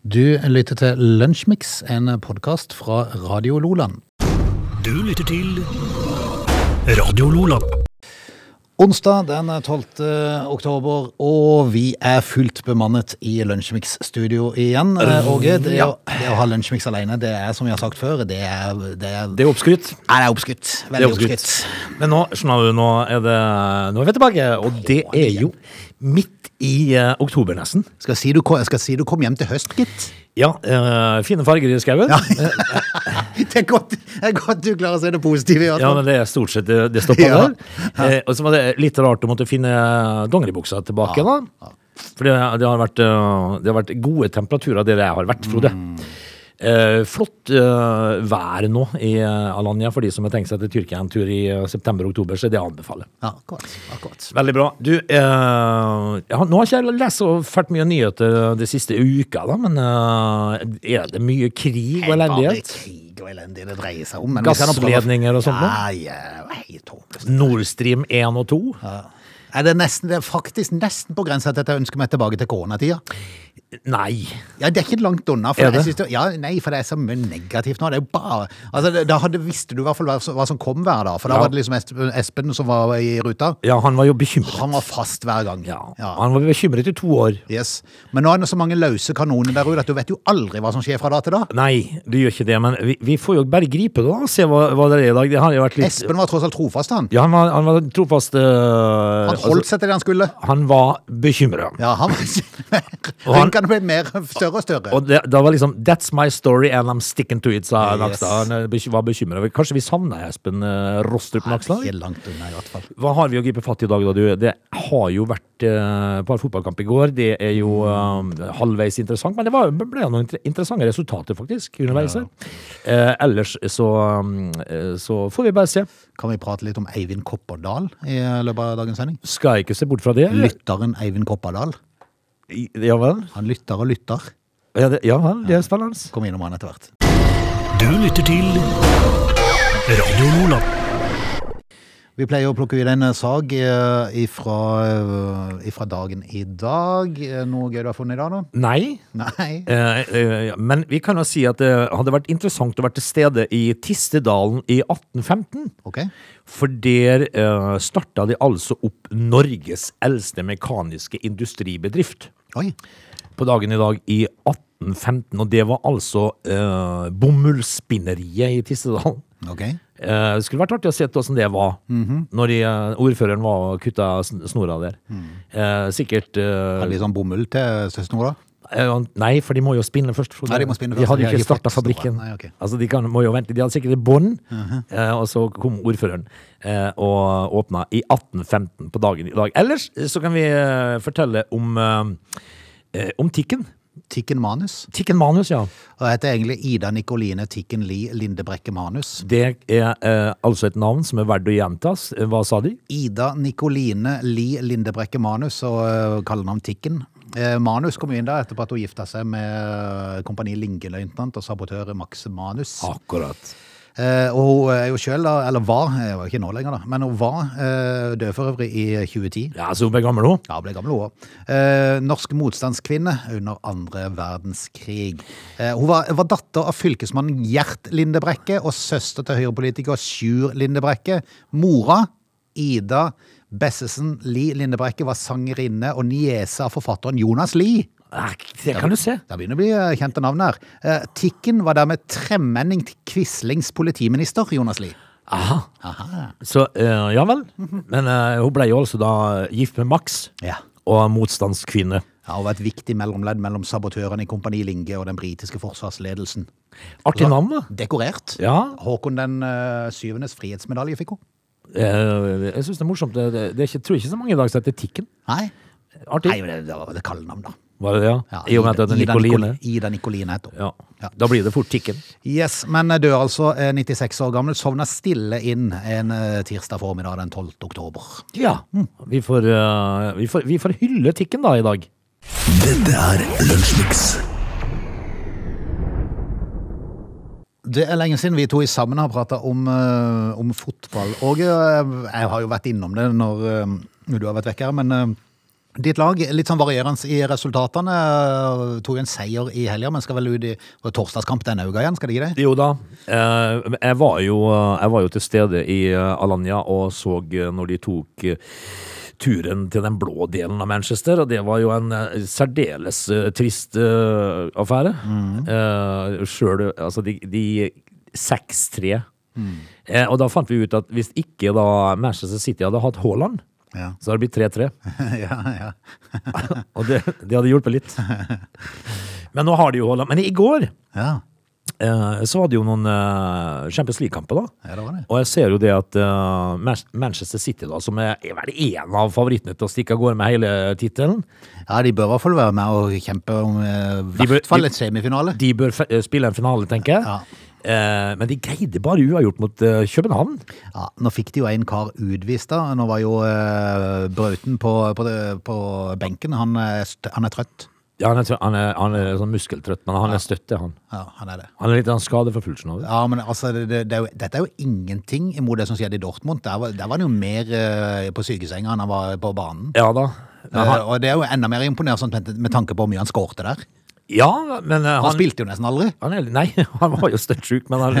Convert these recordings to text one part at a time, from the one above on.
Du lytter til Lunsjmix, en podkast fra Radio Loland. Du lytter til Radio Lola. Onsdag den 12. oktober, og vi er fullt bemannet i Lunsjmix-studio igjen. Eh, Åge, det, å- det å ha Lunsjmix alene, det er som vi har sagt før, det er, det er, Det er oppskrytt. Nei, det er oppskrytt. Det er Veldig oppskrytt. oppskrytt. Men nå skjønner du, nå er, det, nå er vi tilbake, og det er jo midt i eh, oktober nesten. Skal si, du, ko- skal si du kom hjem til høst, gitt. Ja, eh, fine farger i skauen. Ja. Det er godt, det er godt du klarer å se det positive i hvert fall. men det er stort sett det, det stopper Ja. der. Eh, og så var det litt rart å måtte finne dongeribuksa tilbake, da. For det, det, har vært, eh, det har vært gode temperaturer der jeg har vært, Frode. Eh, flott eh, vær nå i eh, Alanya for de som har tenkt seg til Tyrkia en tur i eh, september-oktober, så det anbefaler. Ja, akkurat, akkurat. Veldig bra. Du, eh, ja, nå har ikke jeg lest så fælt mye nyheter eh, de siste uka, da, men eh, er det mye krig og elendighet? Bare krig og elendighet det dreier seg om. men vi skal nå prøve- Gassledninger og sånt? da? Nei, eh, helt håpløst. Nord Stream 1 og 2? Er det, nesten, det er faktisk nesten på grensa til at jeg ønsker meg tilbake til koronatida. Nei. Ja, det er ikke langt unna. For Er det? Jeg synes det, ja, nei, for det er så mye negativt nå. Det er jo bare, altså, det, da hadde, visste du i hvert fall hva, som- hva som kom hver dag. For da Ja. var det liksom Espen, Espen som var i ruta. Ja, han var jo bekymret. Han var fast hver gang. Ja, han var bekymret i to år. Yes. Men nå er det så mange løse kanoner der ute at du vet jo aldri hva som skjer fra da til da. Nei, du gjør ikke det, men vi, vi får jo bare gripe det da, og se hva, hva det er i dag. Det har jo vært litt... Espen var tross alt trofast, han. Ja, han var, han var trofast... eh, Han holdt seg til det han skulle. altså, han var bekymret. Ja, han Og han- Rynkene ble mer større og større. Og det, da var liksom That's my story, and I'm sticking to it, sa Yes. Nakstad. Han eh, beky- var bekymra. Kanskje vi savna Espen eh, Rostrup Nakstad? Ikke langt unna, i hvert fall. Hva har vi å gripe fatt i i dag, da, du? Det har jo vært eh, et par fotballkamp i går. Det er jo eh, halvveis interessant, men det var, ble jo noen inter- interessante resultater, faktisk, underveis her. Eh, ellers så, um, eh, så får vi bare se. Kan vi prate litt om Eivind Kopperdal i løpet av dagens sending? Skal jeg ikke se bort fra det. Lytteren Eivind Kopperdal. I- Ja vel? Han lytter og lytter. Ja, det, ja, vel, det er spennende. Kom innom han etter hvert. Du lytter til Radio Lola. Vi pleier å plukke ut en eh, sag eh, ifra, eh, ifra dagen i dag. Eh, Noe gøy du har funnet i dag, da? Nei. Nei? Eh, eh, Men vi kan jo si at det hadde vært interessant å være til stede i Tistedalen i 1815. Ok. For der eh, starta de altså opp Norges eldste mekaniske industribedrift Oi. på dagen i dag i 1815. Og det var altså eh, bomullsspinneriet i Tistedalen. Ok. Eh, det skulle vært artig å se hvordan det var når de, eh, ordføreren var og kutta sn- snora der. Eh, sikkert eh, Er det litt sånn bomull til søsternora? Eh, Nei, for de må jo spinne først. Frode. Nei, de må spinne De først, hadde de har ikke ikke starta fått fabrikken. store. Nei, ok. Mhm. Altså, de kan, må jo vente. De hadde sikkert et bånd, eh, og så kom ordføreren eh, og åpna i 1815 på dagen i dag. Ellers eh, så kan vi eh, fortelle om, eh, eh, om Tikken. Tikken Manus. Tikken Manus, ja. Og jeg heter egentlig Ida Nikoline Tikken Li Lindebrekke Manus. Det er eh, altså et navn som er verdt å gjentas. Eh, Hva sa de? Ida Nikoline Li Lindebrekke Manus, og eh, kaller han Tikken. Eh, Manus kom jo inn der etterpå at hun gifta seg med eh, kompani Lingeløytnant og sabotør Max Manus. Akkurat. Eh, og hun er jo sjøl, da, eller var, jeg var jo ikke nå lenger, da, men hun var eh, død for øvrig i 2010. Ja, så hun ble gammel nå. Ja, ble gammel hun òg. Eh, norsk motstandskvinne under andre verdenskrig. Eh, hun var, var datter av fylkesmannen Gjert Lindebrekke og søster til høyrepolitiker Sjur Lindebrekke. Mora, Ida Bessesen Lie Lindebrekke, var sangerinne og niese av forfatteren Jonas Lie. Eh, Det kan du se. Det begynner å bli eh, kjente navn her. Eh, Tikken var dermed tremenning til Quislings politiminister, Jonas Lie. Aha. Så eh, ja vel. Men eh, hun ble jo altså da gift med Max Mhm. Ja. og motstandskvinne. Ja, Hun var et viktig mellomledd mellom sabotørene i Kompani Linge og den britiske forsvarsledelsen. Artig navn, da. Dekorert. Ja, Håkon den eh, syvendes frihetsmedalje fikk hun. eh, jeg syns det er morsomt. Det, det, det er ikke, tror ikke så mange i dag som heter Tikken. Nei, Artig. Nei men det, det var det kallenavn, da. Var det det, ja? Ja, I og med at det Ida- er Ida Nikoline. Nikol- Ida Nikoline heter hun. Ja. Ja. Da blir det fort Tikken. Yes, men eh, døde altså eh, 96 år gammel. Sovna stille inn en eh, tirsdag formiddag den 12. oktober. Ja. Vi, får, eh, vi, får, vi får hylle Tikken da i dag. Dette er Lunsjmix. Det er lenge siden vi to i sammen har prata om, eh, om fotball. Og eh, jeg har jo vært innom det når, eh, når du har vært vekk her, men eh, Ditt lag, litt sånn varierende i resultatene, eh, tok en seier i helga, men skal vel ut i det var torsdagskamp denne uka igjen, skal de ikke det? Jo da. eh, Jeg var jo, jeg var jo til stede i eh, Alanya og så eh, når de tok eh, turen til den blå delen av Manchester, og det var jo en eh, særdeles eh, trist eh, affære. Mm. Sjøl Altså, de, de 6-3. Eh, Og da fant vi ut at hvis ikke da Manchester City hadde hatt Haaland, Ja. så hadde det blitt 3-3. ja, ja. Og det, det hadde hjulpet litt. Men nå har de jo Haaland. Men i går ja. eh, så var det jo noen eh, Champions League-kamper, da. Ja, det var det. Og jeg ser jo det at eh, Mas- Manchester City, da, som er er vel en av favorittene til å stikke av gårde med hele tittelen, Ja, de bør i hvert fall være med og kjempe om eh, i De bør- hvert fall de- et semifinale. de bør fe- eh, spille en finale, tenker jeg. Ja. Eh, men de greide bare uavgjort mot eh, København. Ja, nå fikk de jo en kar utvist da. Nå var jo eh, Brauten på, på, det- på benken. Han er, st- han er trøtt. Ja, han, er, tø- han, er, han er sånn muskeltrøtt, men han er støtte, han. Ja, han er det. Han er litt sånn skadeforfulgt nå. Ja, men altså, det, det, det er jo, dette er jo ingenting imot det som skjedde i Dortmund. Der var, der var han jo mer eh, på sykesenga enn han var på banen. Ja da. Men han, Eh, og det er jo enda mer imponerende sånn, med, med tanke på hvor mye han skårte der. ja, men eh, Han, han, spilte jo nesten aldri. Han er, nei, han var jo støtt sjuk, men, han,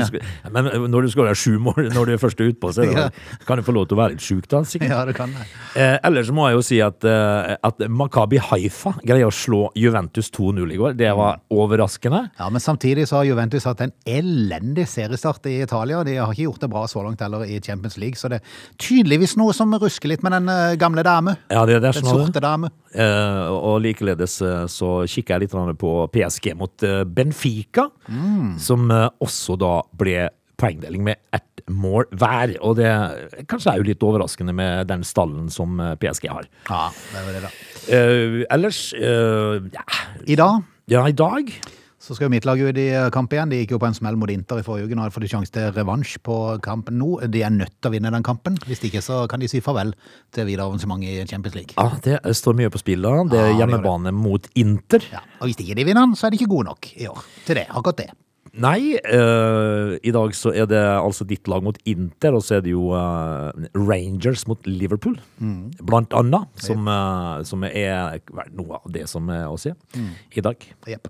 men eh, når du skårer sju mål når du er først er utpå, så er det, kan du få lov til å være litt sjuk, da. sikkert. Ja, det kan det. Eh, ellers må jeg jo si at, eh, at Makabi Haifa greier å slå Juventus 2-0 i går. Det var overraskende. Ja, men samtidig så har Juventus hatt en elendig seriestart i Italia. og De har ikke gjort det bra så langt heller i Champions League, så det er tydeligvis noe som rusker litt med den eh, gamle dame. Ja, det, det Den er sånn at- sorte dame. Eh, og likeledes eh, så kikker jeg litt grann på PSG mot eh, Benfica, som eh, også da ble poengdeling med ett mål hver. Og det kanskje er jo litt overraskende med den stallen som eh, PSG har. Ja, det var det, da. Eh, ellers eh, ja. I dag ja, i dag så skal jo mitt lag ut i eh, kamp igjen. De gikk jo på en smell mot Inter i forrige uke. Nå har de fått en sjanse til revansj på kampen nå. De er nødt til å vinne den kampen. Hvis ikke så kan de si farvel til videre arrangement i Champions League. ja, Det står mye på spill. da Det er Ja, det gjør det. hjemmebane mot Inter. Ja, og hvis ikke de vinner den, så er de ikke gode nok i år til det. Akkurat det. Nei, eh, i dag så er det altså ditt lag mot Inter, og så er det jo eh, Rangers mot Liverpool, Mm. blant annet, som, eh, som er vel, noe av det som er å se Mm. i dag. Jepp.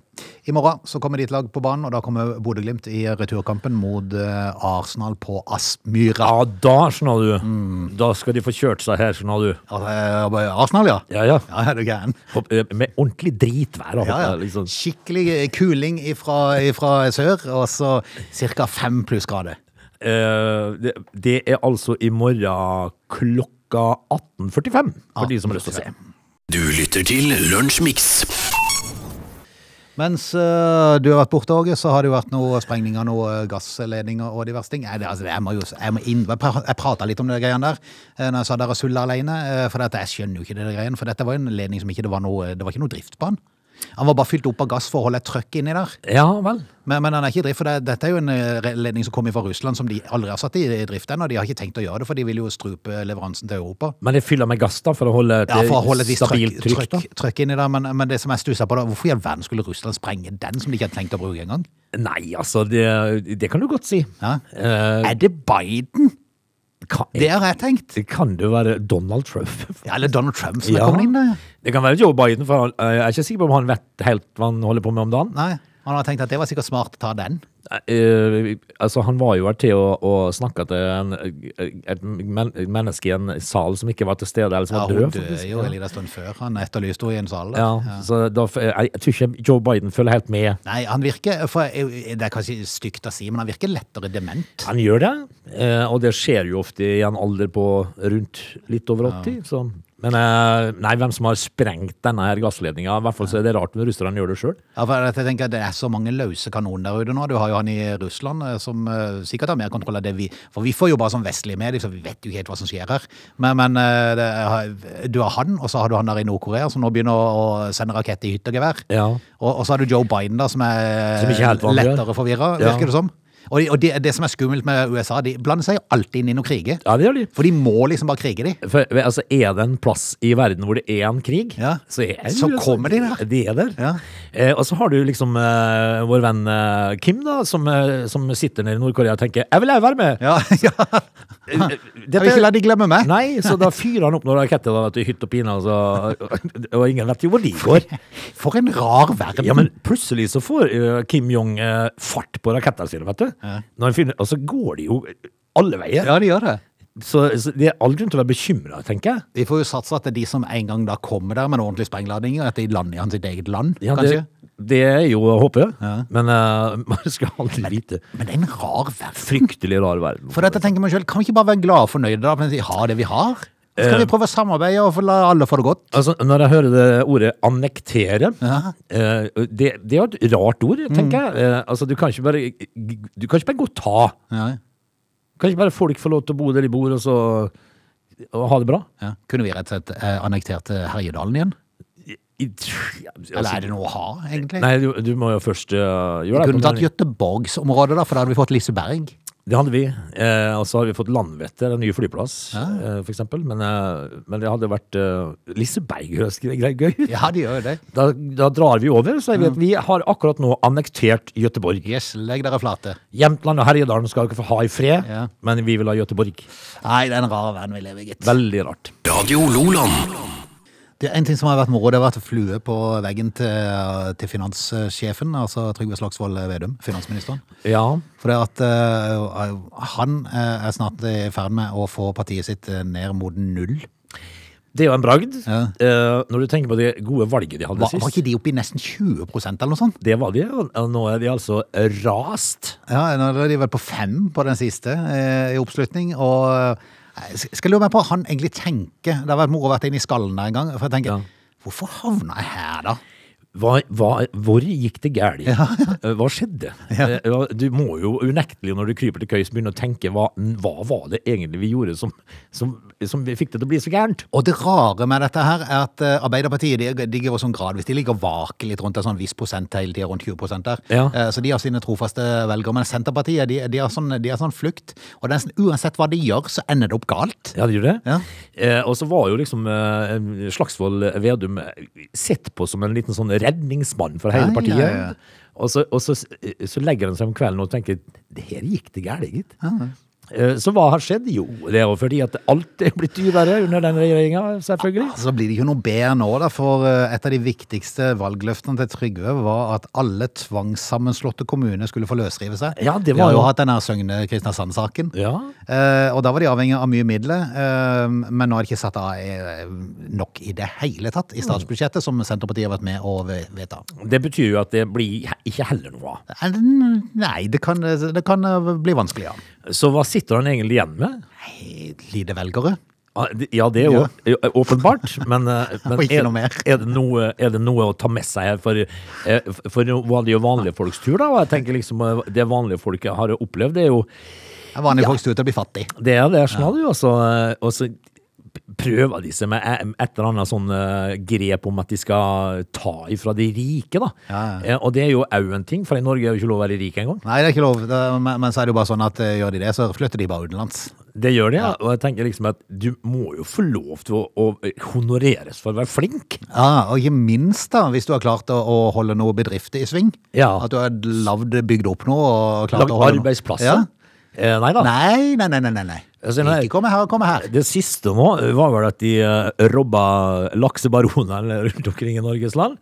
I morgen så kommer ditt lag på banen, og da kommer Bodø-Glimt i returkampen mot eh, Arsenal på Aspmyra. Ja, da skjønner du. Mm. Da skal de få kjørt seg her, skjønner du. Eh, Arsenal, ja? Ja, ja. Ja, er du gæren? Hopp- eh, Med ordentlig dritvær. Ja, da, ja. håper jeg, Liksom. Skikkelig kuling fra sør, og så ca. fem plussgrader. Eh, det, det er altså i morgen klokka 18.45, for de som har lyst til å se. Du lytter til Lunsjmix. Mens eh, du har vært borte, Åge, så har det jo vært noe sprengning av noe eh, gassledninger og diverse ting. Nei, det, altså, det, jeg må jo jeg må inn, jeg pra- jeg prata litt om det greiene der eh, når jeg sa dere sulla alene. eh, for dette, jeg skjønner jo ikke det der greiene, for dette var jo en ledning som ikke det var noe, det var ikke noe drift på den. Han var bare fylt opp av gass for å holde et trøkk inni der. Ja vel. Men, men han er ikke i drift, for det, dette er jo en eh, ledning som kommer fra Russland, som de aldri har satt i drift ennå. De har ikke tenkt å gjøre det, for de vil jo strupe leveransen til Europa. Men det fyller med gass da, for å holde et Ja, for å holde et visst trøkk, stabilt trykk. da. trøkk, trøkk inni der, men, men det som jeg stusser på da, hvorfor i all verden skulle Russland sprenge den som de ikke hadde tenkt å bruke engang? Nei, altså, det, det kan du godt si. Ja. Eh, Er det Biden? kan, Det har jeg tenkt. kan det være Donald Trump? Ja, eller Donald Trump som er kommet inn der. Det kan være Joe Biden, for han, eh, jeg er ikke sikker på om han vet helt hva han holder på med om dagen. Nei, han har tenkt at det var sikkert smart å ta den. Eh, altså, han var jo her til å, å snakke til en, et men, menneske i en sal som ikke var til stede, eller som Ja, var hun død. døde faktisk. jo en liten stund før han etterlyste henne i en sal. Ja, da. så da, f- jeg, jeg tror ikke Joe Biden følger helt med. Nei, han virker, for det er kanskje stygt å si, men han virker lettere dement. Han gjør det, eh, og det skjer jo ofte i en alder på rundt litt over 80. Så. Men eh, nei, hvem som har sprengt denne her gassledninga? I hvert fall så er det rart når russerne gjør det sjøl. Ja, for jeg tenker at Det er så mange løse kanoner der ute nå. Du har jo han i Russland eh, som eh, sikkert har mer kontroll av det vi For vi får jo bare sånn vestlige medier, så vi vet jo ikke helt hva som skjer her. Men, men eh, det, er- du har han, og så har du han der i Nord-Korea som nå begynner å, å sende rakett i hytt og gevær. Ja. Og, og så har du Joe Biden, da, som er Som ikke helt vanlig, ja. lettere forvirra, Ja. virker det som. Og, de, og det- det som er skummelt med USA, de blander seg jo alltid inn i noen kriger. ja, det gjør de. For de må liksom bare krige, de. For, altså, er det en plass i verden hvor det er en krig, Ja. så, er Så USA- kommer de der. De er der. Ja. Eh, og så har du liksom eh, vår venn eh, Kim, da, som, eh, som sitter nede i Nord-Korea og tenker 'jeg vil jeg være med'. Ja, ja. Jeg vil ikke la de glemme meg. Nei, så da fyrer han opp noen raketter da, vet du, i hytt og pine, altså, og ingen vet jo hvor de går. For en rar verden. Ja, men plutselig så får eh, Kim Jong eh, fart på rakettene sine, vet du. Når han finner, og så går de jo alle veier. Ja, de gjør det. Så, så de er all grunn til å være bekymra, tenker jeg. Vi får jo satse at det er de som en gang da kommer der med en ordentlig sprengladning, at de lander i hans eget land, Ja, det, kanskje. det er jo å håpe, men eh, man skal aldri vite. Men det er en rar verden. Fryktelig rar verden. For dette tenker man selv, kan vi ikke bare være glade og fornøyde da, mens vi har det vi har? Skal vi prøve å samarbeide og få la alle få det godt? Altså, når jeg hører det ordet annektere, Ja. Mm. eh, det, det er et rart ord, tenker jeg. Eh, altså, du kan ikke bare, du kan ikke bare gå og ta. Ja, Kan ikke bare folk få lov til å bo der de bor, og så og ha det bra? ja. Kunne vi rett og slett eh, annektert eh, Herjedalen igjen? I- ja, altså- Eller er det noe å ha, egentlig? Nei, du, du må jo først eh, Vi gjøre kunne tatt det. Göteborgsområdet da, for da hadde vi fått Liseberg. Det hadde vi. Eh, og så har vi fått Landvetter, en ny flyplass, eh, for eksempel. Men, eh, men det hadde vært eh, Liseberg høres gre- gre- gøy ut. Ja, Mm. de gjør jo det. Da, da drar vi over, så jeg vet vi har akkurat nå annektert Gøteborg. Yes, legg dere flate. Jämtland og Herjedalen skal dere få ha i fred, Ja. men vi vil ha Gøteborg. Nei, det er en rar verden vi lever i, gitt. Veldig rart. Radio Loland. Det er En ting som har vært moro, det har vært flue på veggen til, til finanssjefen, altså Trygve Slagsvold Vedum, finansministeren. Ja. For det at eh, han eh, er snart i ferd med å få partiet sitt eh, ned mot null. Det er jo en bragd. Ja. Eh, når du tenker på det gode valget de hadde Var, var sist. ikke de oppe i nesten 20 eller noe sånt? Det var de, og og nå er de altså rast. Ja, nå er de vel på fem på den siste eh, i oppslutning. Og eh, skal lure meg på hva han egentlig tenker. Det har vært moro å vært inne i skallen der en gang. For jeg tenker, Ja. hvorfor havna jeg her, da? Hva, hva, hvor gikk det galt? Eh, Hva skjedde? Eh, ja, Du må jo unektelig, når du kryper til køys, begynne å tenke hva, hva var det egentlig vi gjorde som, som, som vi fikk det til å bli så gærent? Og det rare med dette her er at eh, Arbeiderpartiet de, de går sånn gradvis. De ligger og vaker litt rundt en sånn viss prosent hele tida, rundt 20 der. Ja. Eh, Så de har sine trofaste velgere. Men Senterpartiet de, de har, sånn, de har sånn flukt. Og det er nesten uansett hva de gjør, så ender det opp galt. Ja, det gjorde det. Ja. Eh, og så var jo liksom eh, Slagsvold Vedum eh, sett på som en liten sånn redningsmann for hele Ja, partiet. ja, ja. Og, så, og så, så legger han seg om kvelden og tenker det her gikk det gærent, gitt. Eh, Så hva har skjedd? Jo, det er jo fordi at alt er blitt dyrere under den regjeringa, selvfølgelig. Så blir det ikke noe bedre nå, da, for eh, et av de viktigste valgløftene til Trygve var at alle tvangssammenslåtte kommuner skulle få løsrive seg. Ja, Vi det var har jo jo- hatt den her Søgne-Kristiansand-saken. Ja. Eh, og da var de avhengig av mye midler, eh, men nå er det ikke satt av eh, nok i det hele tatt i statsbudsjettet, som Senterpartiet har vært med å ve- vedta. Det betyr jo at det blir he- ikke heller noe av. Eh, Nei, det kan, det kan eh, bli vanskelig, ja. Så hva sitter han egentlig igjen med? Nei, Lite velgere. Ah, det- Ja, det er jo eh, åpenbart, men, eh, men Og ikke er, noe mer. er, det noe, er det noe å ta med seg her? For, eh, for nå var det jo vanlige folks tur, da. Og jeg tenker liksom eh, det vanlige folk har opplevd, det er jo Det er Vanlige folk står ut og blir fattig. Det er det, sånn hadde jo også. eh, Og så prøver de seg med eh, et eller annet sånn eh, grep om at de skal ta ifra de rike, da. Ja, Eh, Og det er jo òg en ting, for i Norge er jo ikke lov å være rik engang. Nei, det er ikke lov, Det- men, men så er det jo bare sånn at eh, gjør de det, så flytter de bare utenlands. Det gjør det, ja. Og jeg tenker liksom at du må jo få lov til å, å honoreres for å være flink. Ja, og ikke minst da, hvis du har klart å, å holde noe bedrift i sving. Ja. At du har lavd, bygd opp noe og klart å Lage holde noe. arbeidsplasser. Ja. Eh, nei da. Nei, nei, nei, nei, nei, nei. Altså, nei. Ikke komme her, komme her. Det siste nå var vel at de eh, robba laksebaronene rundt omkring i Norges land.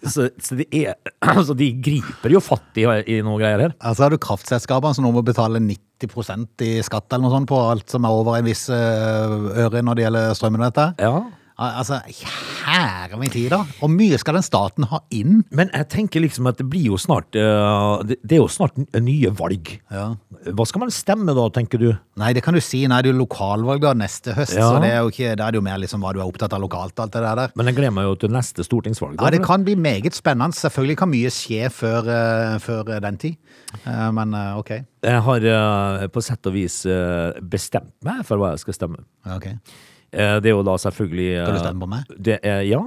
Så, så de, er, altså, de griper jo fatt i, i noe greier her. Altså har du kraftselskapene som nå må betale 90 i skatt eller noe sånt på alt som er over en viss eh, øre når det gjelder strømmen og dette. Ja. Al- Altså, kjære min tid da. Og mye skal den staten ha inn? Men jeg tenker liksom at det blir jo snart eh, Det det er jo snart n- nye valg. Ja. Hva skal man stemme da, tenker du? Nei, det kan du si. Nei, det er jo lokalvalg da neste høst, Ja. så det er jo ikke, da er det jo mer liksom hva du er opptatt av lokalt og alt det der der. Men jeg gleder meg jo til neste stortingsvalg. da. Ja, det kan bli meget spennende. Selvfølgelig kan mye skje før, eh, før den tid. Eh, Men eh, ok. Jeg har eh, på sett og vis eh, bestemt meg for hva jeg skal stemme. Ja, ok. Eh, det er jo da selvfølgelig eh, Skal du stemme på meg? Det er, ja,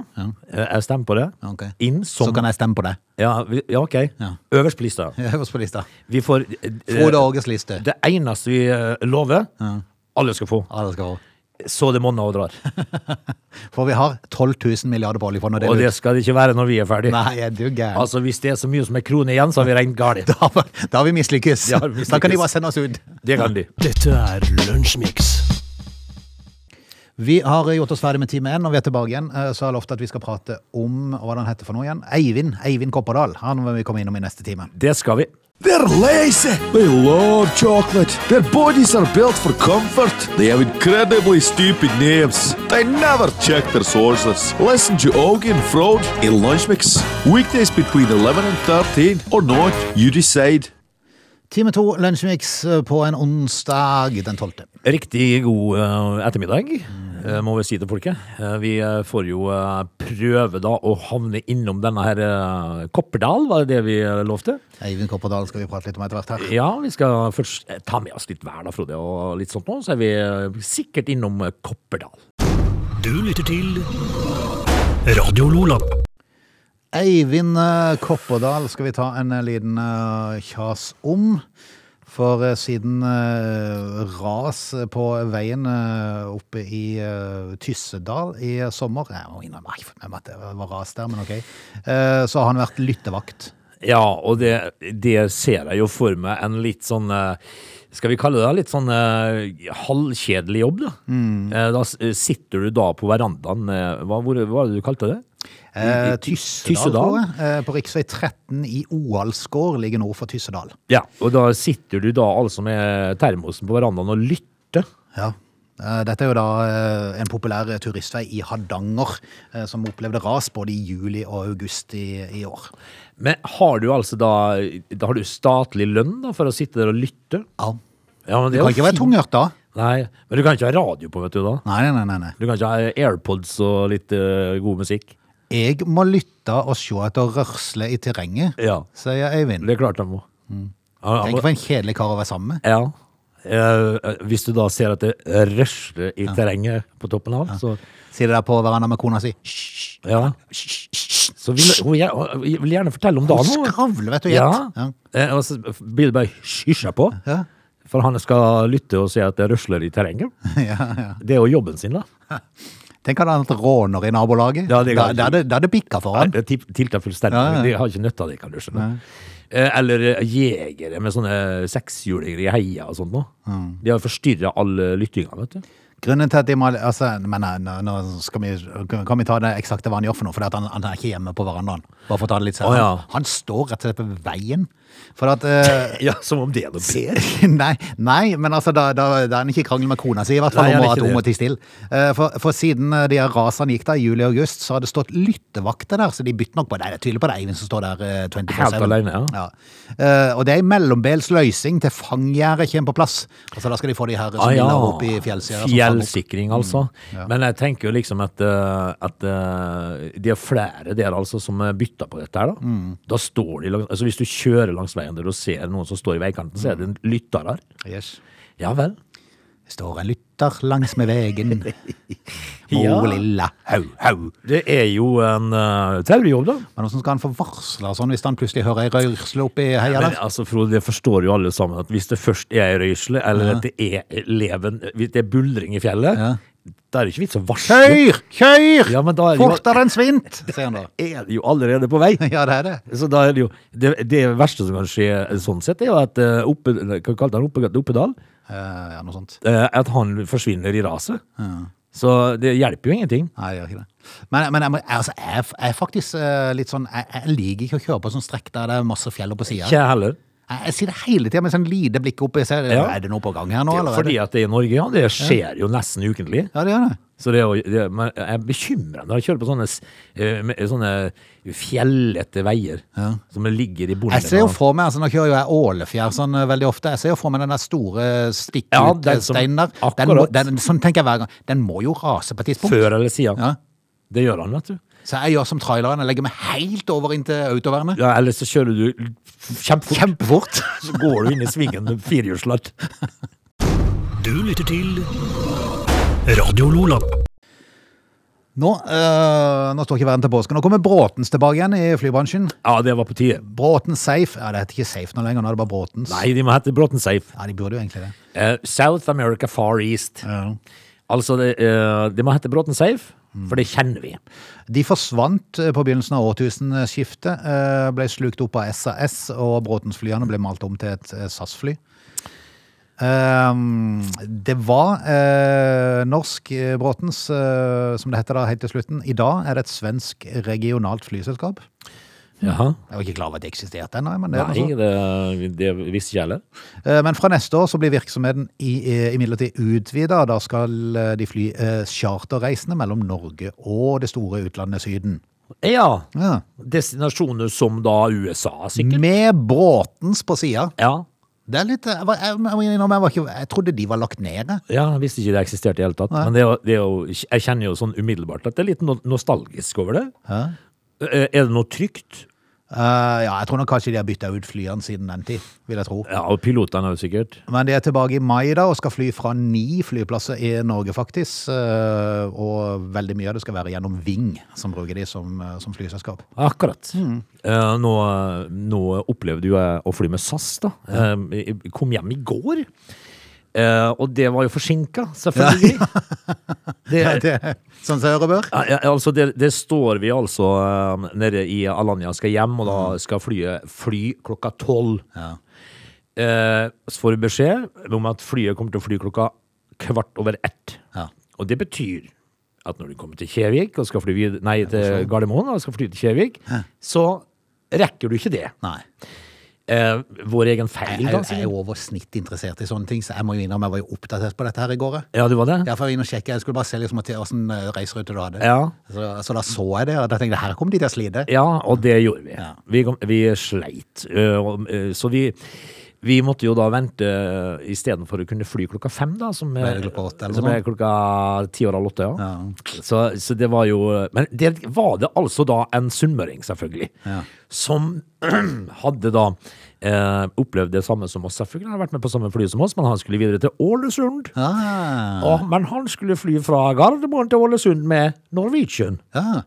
Eh, jeg stemmer på det. Ja, ok. Inn Så som kan jeg stemme på deg. ja, vi- ja, ok. Ja. Øverst på lista. Øverst på lista. Vi får eh, Frode Åges liste. Det eneste vi eh, lover, eh, alle skal få. Alle skal få. så det monner og drar. For vi har 12 000 milliarder på oljefondet. Og det er det skal det ikke være når vi er ferdig. ut. Nei, er du gæren? Altså, hvis det er så mye som en krone igjen, så har vi regnet galt. Da, da har vi mislykkes. Da har vi Da kan de mislykkes. bare sende oss ut. Det kan de. Dette er Lunsjmix. Vi har gjort oss ferdig med time én, og vi er tilbake igjen. Eh, Så har jeg lovt at vi skal prate om hva den heter for noe igjen. Eivind Eivind Kopperdal. Han vil vi komme innom i neste time. Det skal vi. They're lazy. They love chocolate. Their bodies are built for comfort. They have incredibly stupid names. They never check their sources. Listen to Augie and Frode in Lunch Mix. Weekdays between 11 and 13 or not, you decide. Time to Lunsjmix eh, på en onsdag den 12. Riktig god eh, ettermiddag, eh, må vi si til folket. Eh, vi eh, får jo eh, prøve da å havne innom denne her eh, Kopperdal, var det det vi eh, lovte? Eivind Kopperdal skal vi prate litt om etter hvert her. Ja, vi skal først eh, ta med oss litt vær da, Frode, og litt sånt nå, så er vi eh, sikkert innom eh, Kopperdal. Du lytter til Radio Lola. Eivind eh, Kopperdal skal vi ta en eh, liten eh, kjas om. For eh, siden eh, ras på veien eh, oppe i eh, Tyssedal i eh, sommer Jeg må innrømme jeg har ikke fått med meg at det var ras der, men ok. Eh, Så har han vært lyttevakt. Ja, og det, det ser jeg jo for meg en litt sånn eh, Skal vi kalle det litt sånn eh, halvkjedelig jobb, da? Eh, Da s- eh, sitter du da på verandaen eh, Hva, hvor, hva var det du kalte det? Eh, I- i- Tyssedal, tror jeg. Eh, På rv. 13 i Oalsgård ligger nord for Tyssedal. Ja, og da sitter du da altså med termosen på verandaen og lytter. Ja. Eh, Dette er jo da eh, en populær turistvei i Hardanger, eh, som opplevde ras både i juli og august i, i år. Men har du altså da Da har du statlig lønn da for å sitte der og lytte? Ja. Ja, men Det kan er jo ikke være fint. tunghørt da. Nei, men du kan ikke ha radio på, vet du da. Nei, nei, nei, nei. Du kan ikke ha AirPods og litt eh, god musikk. Jeg må lytte og se etter rørsle i terrenget, Ja. sier Eivind. Det er klart de må. Ja, Tenk for en kjedelig kar å Mm. være sammen med. ja. Eh, hvis du da ser at det røsler i terrenget på toppen av, så Sier det der på hverandre med kona si. Hysj, ja. hysj, hysj. Så vil hun gjer- hun vil gjerne fortelle om dagen. hun. skravler, vet du, gjett. Ja. Ja. Eh, Og så blir det bare hysja på. Ja. For han skal lytte og se at det røsler i terrenget. Ja, ja. Det er jo jobben sin, da. Tenk hadde han hatt råner i nabolaget. Ja, da, det kan jeg da, ikke. hadde- da hadde det bikka for Nei, han. Det til- tiltar fullstendig. Ja, ja. De har ikke nytte av det, kan du skjønne. Eh, Eller eh, jegere med sånne sekshjulinger i heia og sånt noe. De har forstyrra all eh, lyttinga, vet du. Grunnen til at de må altså, Men nei, nå, nå skal vi, kan vi ta det eksakte hva han gjør for noe, for at han, han er ikke hjemme på verandaen. Bare for å ta det litt seriøst. Å, ja. Han står rett og slett på veien. For at eh, Ja, som om det er noe bedre. nei, nei, men altså, da, da, da er han ikke i krangel med kona si, i hvert fall, Nei, om han er at ikke hun må det. tie stille. Eh, For, for siden eh, de her rasene gikk da, i juli og august, så har det stått lyttevakter der, så de bytter nok på det. Det er tydelig på det, Eivind, som står der eh, 24-7. Helt alene, ja. Eh, og det er en mellombels løsning til fangjæret kommer på plass. Altså, da skal de få de her som ah, opp i fjellsida. Fjellsikring, Mm. altså. Men jeg tenker jo liksom at, eh, at eh, det er flere der altså som eh, bytter på dette her, da. Mm. Da står de langs, altså Hvis du kjører langs veien der og ser noen som står i veikanten, så er det en lytter der. Yes. Ja vel. Står en lytter langs med vegen. Å, Ja. lilla hau, hau. Det er jo en uh, terrorjobb, da. Men hvordan skal han få varsla sånn hvis han plutselig hører ei rørsle oppi heia Men der? altså, Frode, det forstår jo alle sammen at hvis det først er ei røysle, eller at det er leven, hvis det er buldring i fjellet, da er det ikke vits å varsle. Kjør! Kjør! Ja, men da er det jo- Fortere enn svint! sier han da. Er det jo allerede på vei? Ja, det er det. Så da er det jo Det, det verste som kan skje eh, sånn sett, er jo at eh, oppe, hva kalte han Oppe- Oppedal? Eh, ja, noe sånt. Eh, At han forsvinner i raset. Så det hjelper jo ingenting. Nei, jeg gjør ikke det. Men, men jeg, må- altså, jeg, er f- jeg er faktisk eh, litt sånn jeg, jeg liker ikke å kjøre på sånn strekk der det er masse fjell oppe på sida. Ikke jeg heller. Jeg, jeg sier det hele tida med sånn lite blikk opp. Jeg ser, Ja. Er det noe på gang her nå, Det er eller? jo er fordi det- at det er i Norge, ja. Det skjer jo nesten ukentlig. Ja, det gjør det. Så det er jo, det, men jeg er bekymret når jeg kjører på sånne, s- eh, med- sånne fjellete veier som ligger i bunnen. Jeg ser jo for meg, altså Nå kjører jo jeg Ålefjær sånn eh, veldig ofte. Jeg ser jo for meg den der store Ja, den som- stikkutsteinen der. Den må, akkurat. den, sånn tenker jeg hver gang. Den må jo rase på et tidspunkt. Før eller siden. Ja. Det gjør han, vet du. Så jeg gjør som traileren. Jeg legger meg helt over inntil autovernet. Ja, eller så kjører du l- kjempefort, Kjempefort. så går du inn i svingen med firehjulslatt. Du lytter til Radio Lola. Nå, eh, nå står ikke verden til påske. Nå kommer Bråtens tilbake igjen i flybransjen. Ja, det var på tide. Bråten Safe. Ja, det heter ikke Safe nå lenger, nå er det bare Bråtens. Nei, de må hete Bråten Safe. Ja, de burde jo egentlig det. Eh, South America Far East. Altså, det, eh, det må hete Bråten Safe, for det kjenner vi. De forsvant eh, på begynnelsen av årtusenskiftet, eh, ble slukt opp av SAS, og Bråtens-flyene ble malt om til et eh, SAS-fly. Ehm, Det var eh, norsk eh, Bråtens, eh, som det heter da helt til slutten. I dag er det et svensk regionalt flyselskap. Jaha. Jeg var ikke klar over at det eksisterte ennå. Men, det er Nei, noe sånt. det, det visste ikke jeg heller. Eh, men fra neste år så blir virksomheten i- eh, imidlertid utvida. Da skal eh, de fly eh, charterreisende mellom Norge og det store utlandet Syden. Ja. Ja. Destinasjoner som da USA, sikkert. Med Bråtens på sida. Ja. Det er litt, eh, jeg, var- jeg, må innrømme, jeg, var ikke, jeg trodde de var lagt ned. jeg. Ja, jeg visste ikke det eksisterte i det hele tatt. Men det er, jo- det er jo, jeg kjenner jo sånn umiddelbart at det er litt no nostalgisk over det. Eh, Er det noe trygt? Eh, ja, jeg tror nok kanskje de har bytta ut flyene siden den tid, vil jeg tro. Ja, og pilotene er jo sikkert. Men de er tilbake i mai da, og skal fly fra ni flyplasser i Norge, faktisk. Eh, og veldig mye av det skal være gjennom Ving, som bruker de som, eh, som flyselskap. Akkurat. Eh, nå, nå opplevde jo jeg å fly med SAS, da. Eh, jeg kom hjem i går. Eh, og det var jo forsinka, selvfølgelig. Ja, Det, det er sånn som hører bør. Ja, ja, altså det, det står vi altså eh, nede i Alanya skal hjem, og da skal flyet fly klokka tolv. Mm. Ja. Eh, så får vi beskjed om at flyet kommer til å fly klokka kvart over ett. Ja. Og det betyr at når du kommer til Kjevik, og skal fly vid nei, til Gardermoen, og skal fly til Kjevik, så rekker du ikke det. Nei. Eh, vår egen feil, Jeg, jeg, da. jeg er sikkert. jo over snitt interessert i sånne ting, så jeg må jo innrømme jeg var jo oppdatert på dette her i går. Ja, du var det? Derfor var jeg inne og sjekket. Jeg skulle bare se liksom at- hvordan eh, reiserute du hadde. Ja. Så, så da så jeg det, og da tenkte jeg her kommer de til å slite. Ja, og det gjorde vi. Ja. Vi, kom, vi sleit. ø, og, ø, Så vi, vi måtte jo da vente ø, istedenfor å kunne fly klokka fem, da. Som Ble det klokka åtte eller noe som ble sånt? klokka ti over halv åtte, ja. Ja. Så, så det var jo Men det var det altså da en sunnmøring, selvfølgelig, Ja. som hadde da eh, opplevd det samme som oss, selvfølgelig. Han har vært med på samme fly som oss, men han skulle videre til Ålesund. Ah, Og, men han skulle fly fra Gardermoen til Ålesund med Norwegian. ja.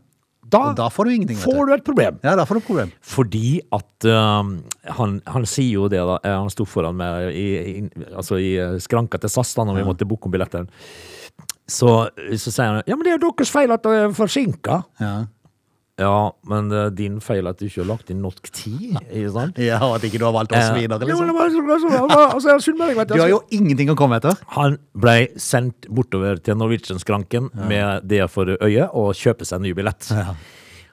Da, Og da får du ingenting, vet får du. du et problem. Ja, da får du problem. Fordi at øhm, han, han sier jo det, da. eh, Han sto foran meg i, i, altså i eh, skranka til SAS da når vi måtte booke om billetten. Så, så sier han ja, men det er jo deres feil at det er forsinka. Ja. Ja, men det er din feil at du ikke har lagt inn nok tid. Ikke sant? ja, og at ikke du har valgt oss videre, Jo, liksom. men det var- altså, det var- altså, jeg er sunnmøring, vet Du har jo ingenting å komme etter. Altså, Han ble sendt bortover til Norwegian-skranken med det for øye, og kjøpe seg en ny billett.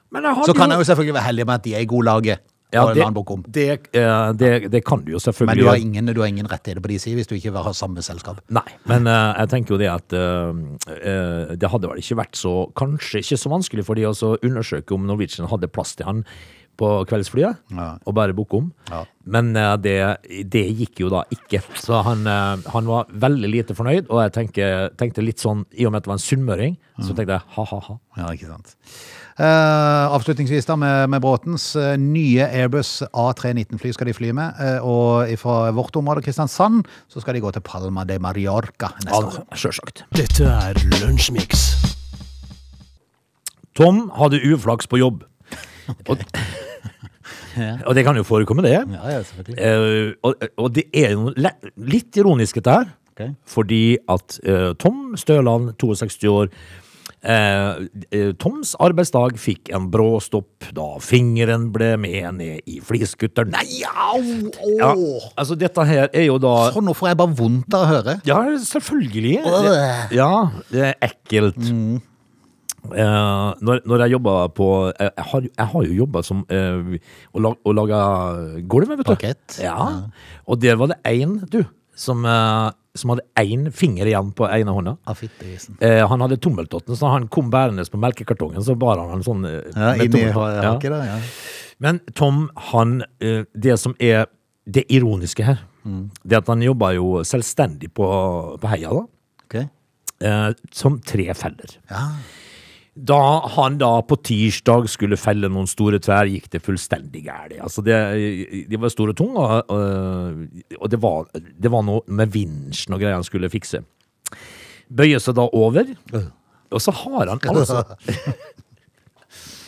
Men jeg hadde Så kan jeg jo selvfølgelig være heldig med at de er i god laget. Ja, og en annen bok det, om. det, eh, det, det kan du jo Men selvfølgelig. du har, gjøre. ingen, du har ingen rettigheter på de sider hvis du ikke har samme selskap. Nei, men eh, jeg tenker jo det at eh, eh, det hadde vel ikke vært så Kanskje ikke så vanskelig for de også å undersøke om Norwegian hadde plass til han på kveldsflyet, Ja. og bare booke om. Ja. Men eh, det, det gikk jo da ikke. Så han, eh, han var veldig lite fornøyd, og jeg tenker, tenkte litt sånn I og med at det var en sunnmøring, Mm. så tenkte jeg ha-ha-ha. Ja, ikke sant. Eh, avslutningsvis da med, med Bråtens. Eh, nye Airbus A319-fly skal de fly med. eh, og fra vårt område, Kristiansand, så skal de gå til Palma de Mariorca neste år. Sjølsagt. Dette er Lunsjmix. Tom hadde uflaks på jobb. Og, og det kan jo forekomme, det. Ja, ja, selvfølgelig. Eh, og, og det er jo le- litt ironisk dette her, Ok. fordi at eh, Tom Støland, 62 år, eh, eh, Toms arbeidsdag fikk en brå stopp da fingeren ble med ned i fliskutteren. Nei, Au! Å! ja, altså dette her er jo da... Så nå får jeg bare vondt av å høre. Ja, selvfølgelig. Øh. Ja, det er ekkelt. Mm. Eh, når, når jeg jobba på Jeg, jeg, har, jeg har jo jobba som eh, Å lag, å lage gulv, vet du. Parkett. Ja. Og der var det én, du, som, eh, som hadde én finger igjen på ene hånda. Ah, fittegrisen. Eh, han hadde tommeltotten, så han kom bærende på melkekartongen. Så bar han en sånn eh, Ja, med inni tommeltotten. Ja. hakket der, ja. Men Tom, han eh, Det som er det ironiske her, Mm. det at han jobba jo selvstendig på, på Heia, da Ok. eh, som tre feller. Ja. Da han da på tirsdag skulle felle noen store trær, gikk det fullstendig gærent. Altså det, de var store og tunge, og, eh, og- og det, var, det var noe med vinsjen og greier han skulle fikse. Bøyer seg da over, og så har han altså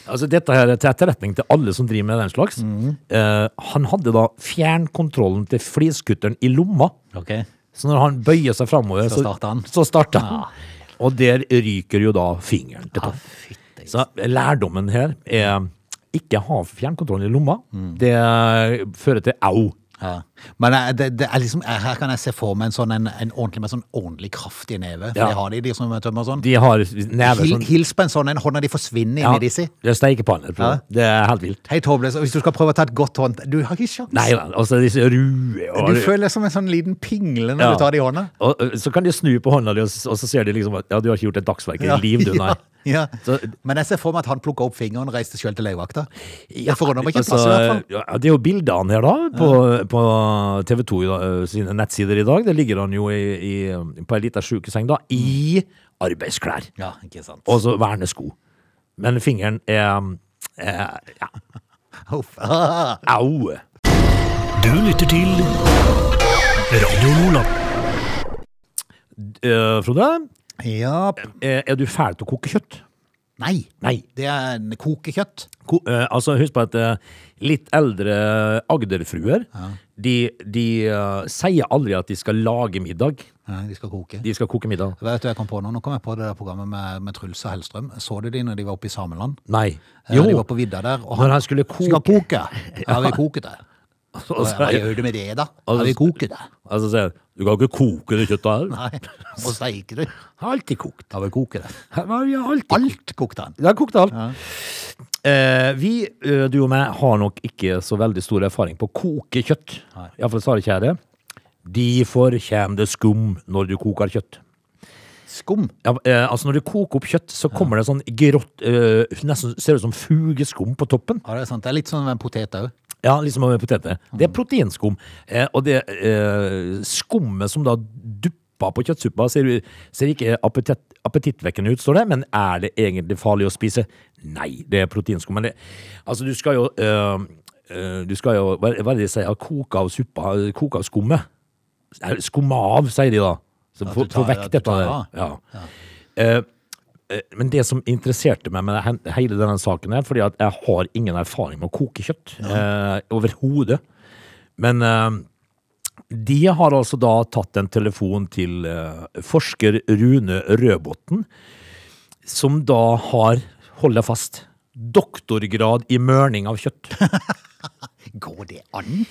Altså Dette her er til etterretning til alle som driver med den slags. Eh, han hadde da fjernkontrollen til fliskutteren i lomma. Ok. Så når han bøyer seg framover, Så starter han. Så starter han. Og der ryker jo da fingeren til topp. Så lærdommen her er ikke ha fjernkontrollen i lomma. Mm. Det fører til au. Ja. Men eh, det, det er liksom, eh, her kan jeg se for meg en sånn en, en ordentlig med sånn ordentlig kraftig neve. For Ja. det har de, de som tømmer sånn. De har never Hil, sånn Hils på en sånn en, hånda de forsvinner ja, inni de si. Det er steikepanner. tror jeg. Det er helt vilt. Helt håpløs. Og hvis du skal prøve å ta et godt hånd Du har ikke sjans. Nei, altså disse rue og Du føler deg som en sånn liten pingle når Ja. du tar det i hånda. Og ø, så kan de snu på hånda di, og s- og så ser de liksom at ja, du har ikke gjort et dagsverk i Ja, ditt liv, du, nei. Ja, ja. Så- Men jeg ser for meg at han plukka opp fingeren og reiste sjøl til legevakta. Ja, Jeg forundrer meg ikke altså, masse, i hvert fall. ja, det er jo bildene her, da, på, på TV 2 eh, sine nettsider i dag. Der ligger han jo i, i, på ei lita sjukeseng, da, i arbeidsklær. Ja, ikke sant. Og så vernesko. Men fingeren er, er ja, Uff. Ah. Au! Du lytter til Radio Lola. Eh, Frode, Ja eh, er du fæl til å koke kjøtt? Nei. Nei. Det er en kokekjøtt. Ko, eh, altså, husk på at eh, litt eldre Agderfruer De, de eh, sier aldri at de skal lage middag. Nei, de skal koke. De skal koke middag. Vet du, jeg kom på nå, nå kom jeg på det der programmet med, med Truls og Hellstrøm. Så du de når de var oppe i Sameland? Nei. Eh, Jo, De var på vidda der. Og når han skulle koke Skal koke. Ja, vi koker det. og så- Hva gjør du med det, da? Ja, vi koker det. Altså, sier han, du kan ikke koke det kjøttet her. Nei. Og steiker du. Alltid kokt. Ja, vi koker det. Her var vi alltid Alt kokte han. Jeg har kokt alt. Eh, vi, eh, du og meg, har nok ikke så veldig stor erfaring på å koke kjøtt. Iallfall sa det ikke jeg det. Derfor kommer det skum når du koker kjøtt. Skum. Ja, eh, altså Når du koker opp kjøtt, så kommer det sånn grått eh, Nesten ser ut som fugeskum på toppen. Ja, det er sant. Det er litt sånn med en potet òg. Ja, liksom med poteter. Mm. Det er proteinskum. Eh, og det eh, skummet som da dupper på kjøttsuppa, ser, u- ser ikke appetitt, appetittvekkende ut, står det. Men er det egentlig farlig å spise? Nei, det er proteinskum. Men det, altså, du skal jo eh, eh, Du skal jo Hva hva er det de sier? Koke av suppa? Koke av skummet? Nei, Skumme av, sier de da. Så At få du tar- få vekk at du dette. tar der. Ja. Eh, eh, men det som interesserte meg med det hen- hele denne saken her, fordi at jeg har ingen erfaring med å koke kjøtt eh, overhodet. Men eh, de har altså da tatt en telefon til eh, forsker Rune Rødbotten, som da har, hold deg fast, doktorgrad i mørning av kjøtt. Går det an?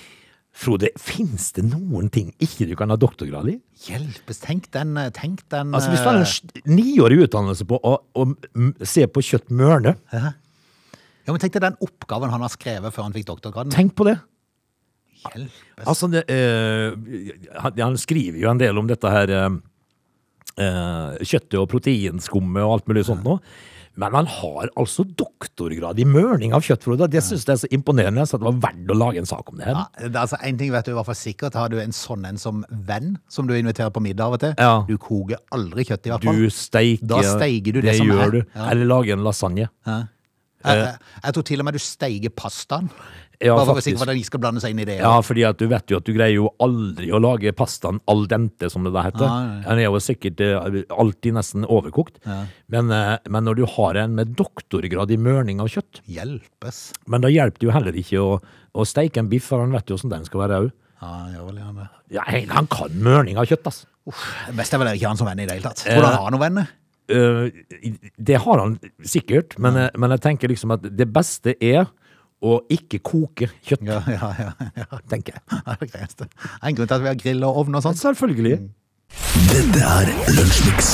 Frode, fins det noen ting ikke du kan ha doktorgrad i? Hjelpes. Tenk den, eh, tenk den Altså Hvis du har en eh, sj- niårig utdannelse på å, å m- se på kjøtt mørne, Ja, men tenk deg den oppgaven han har skrevet før han fikk doktorgraden. tenk på det. Hjelpes. Altså, det, eh, han, han skriver jo en del om dette her eh, eh, kjøttet og proteinskummet og alt mulig sånt Mm. nå. Men han har altså doktorgrad i mørning av kjøtt, Frode. Det syns jeg er så imponerende, så det var verdt å lage en sak om det her. Mm. Ja, det er altså En ting vet du i hvert fall sikkert, har du en sånn en som venn, som du inviterer på middag av og til Ja. Du koker aldri kjøtt, i hvert fall. Du eh, steiker Da steiger du det som gjør er. Du. Ja. Eller lager en lasagne. jeg, jeg, jeg tror til og med du steiger pastaen. Ja, bare for å faktisk. sikre at de skal blande seg inn i det. Ja, fordi at du vet jo at du greier jo aldri å lage pastaen al dente, som det da heter. Nei, nei. Den er jo sikkert eh, alltid nesten overkokt. Men, eh, men når du har en med doktorgrad i mørning av kjøtt, Hjelpes. Men da hjelper det jo heller ikke å, å steike en biff, for han vet jo hvordan den skal være òg. Ja, han gjør vel gjerne det. Ja, han- han kan mørning av kjøtt, altså. ass. Uff, det beste er vel ikke han som venn i det hele tatt. Tror du han har noen venner? Eh, det har han sikkert, men, eh, men jeg tenker liksom at det beste er å ikke koke kjøtt, Ja, ja, ja. ja. tenker jeg. Det er det greieste. Det er en grunn til at vi har grill og ovn og sånt. Selvfølgelig. Dette er Lunsjmix.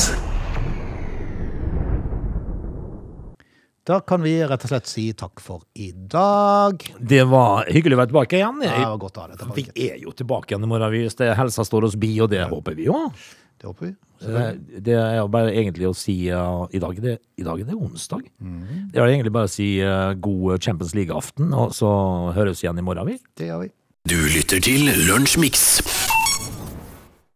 Da kan vi rett og slett si takk for i dag. Det var hyggelig å være tilbake igjen. Ja, det var godt å ha det vi tilbake. er jo tilbake igjen i morgen hvis det helsa står oss bi, og det håper vi jo. Det håper vi. Det, det er jo bare egentlig å si uh, i, dag er det, I dag er det onsdag. Det er egentlig bare å si uh, god Champions League-aften, og så høres vi igjen i morgen, vi. Det gjør vi. Du lytter til Lunsjmix.